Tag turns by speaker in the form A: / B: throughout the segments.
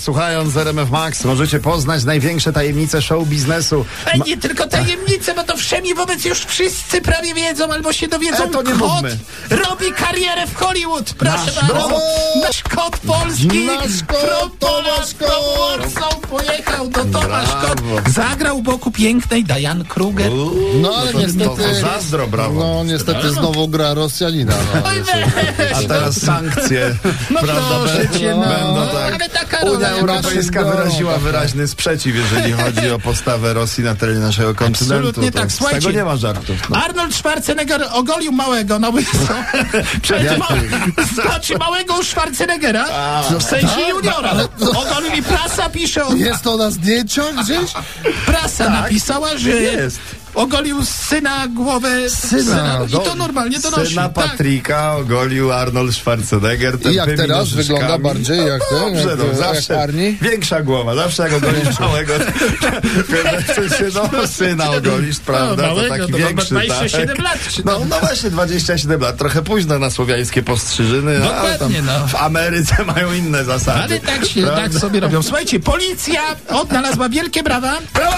A: Słuchając RMF Max możecie poznać największe tajemnice show biznesu.
B: A nie tylko tajemnice, bo to wszemi wobec już wszyscy prawie wiedzą albo się dowiedzą.
A: E, to nie
B: kot
A: mówmy.
B: robi karierę w Hollywood. Proszę
A: Nasz
B: bardzo.
A: kot.
B: Nasz kot polski.
A: Nasz kot,
B: From
A: Tomasz
B: Pola-
A: Kot.
B: from Warsaw pojechał do Tomasz Kot.
A: Brawo.
B: Zagrał u boku pięknej Diane Kruger.
C: No ale
A: to-
C: niestety.
A: to zazdro, brawo.
C: No niestety znowu gra Rosjanina. No,
B: Oj,
C: jest-
A: A
B: weź,
A: teraz sankcje.
B: no
A: prawda,
B: proszę
A: be-
B: cię, no.
A: będą tak.
B: Ale taka
A: Unia
B: rola.
A: Europejska
C: Europejska.
B: Tak,
A: wyraziła wyraźny sprzeciw, jeżeli chodzi o postawę Rosji na terenie naszego kontynentu.
B: Absolutnie tak,
A: z
B: słuchajcie.
A: tego nie ma żartów. No.
B: Arnold Schwarzenegger ogolił małego, no bo przed ma... znaczy małego Schwarzeneggera, w sensie
A: Tak?
B: juniora. Ogolił i prasa pisze, o...
C: Jest to na zdjęciach gdzieś?
B: prasa napisała, że
A: Tak, Jest.
B: ogolił syna głowę no I to
A: Ogolił.
B: normalnie donosi.
A: No, Syna
B: tak.
A: Patryka ogolił Arnold Schwarzenegger.
C: I jak
A: tępymi
C: teraz
A: nożyczkami.
C: wygląda bardziej jak
A: no,
C: ten,
A: Dobrze,
C: jak-
A: no,
C: jak
A: zawsze.
C: Arni?
A: Większa głowa, zawsze jak ogolisz małego. Pewnie się no, syna ogolisz, prawda?
B: No, małego,
A: to taki
B: to ma
A: większy.
B: 27
A: tak.
B: lat, czy
A: No, no właśnie, 27 lat. Trochę późno na słowiańskie postrzyżyny. no, ale
B: Dokładnie,
A: tam
B: no.
A: W Ameryce mają inne zasady.
B: Ale tak się,
A: prawda?
B: tak sobie robią. Słuchajcie, policja odnalazła wielkie brawa.
A: Brawo!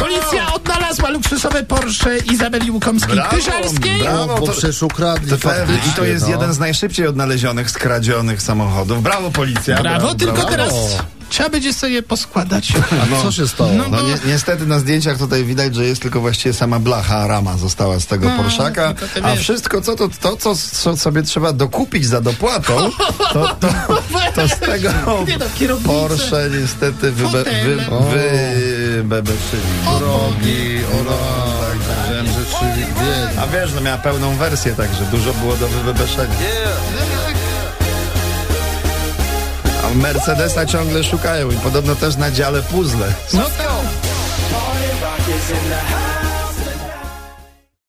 B: Policja odnalazła luksusowe Porsche Izabeli
A: Brawo,
B: Łukomskiej-Tyżalskiej.
A: brawo.
C: No,
A: No,
C: bo
A: to-
C: przecież ukradli
A: To pewnie.
C: faktycznie.
A: I to jest
C: no.
A: jeden z najszybciej odnalezionych, skradzionych samochodów. Brawo, policja.
B: Brawo, tylko
A: brawo.
B: teraz trzeba będzie sobie poskładać.
C: A co się stało?
B: No,
A: No ni- niestety na zdjęciach tutaj widać, że jest tylko właściwie sama blacha, rama została z tego Porszaka,
B: No, to ty
A: a
B: wiesz.
A: wszystko co to, to co, co sobie trzeba dokupić za dopłatą, to, to, to z tego
B: Nie no, kierownicy.
A: Porsche niestety wybe, wy,
B: Fotele.
A: wy, wybebeczyli.
C: Drogi, ona, tak, rzeczywiście.
A: A wiesz, no miała pełną wersję, także dużo było do wybebeszenia. A Mercedesa ciągle szukają i podobno też na dziale puzzle.
B: No to...
D: Party rock is in the house.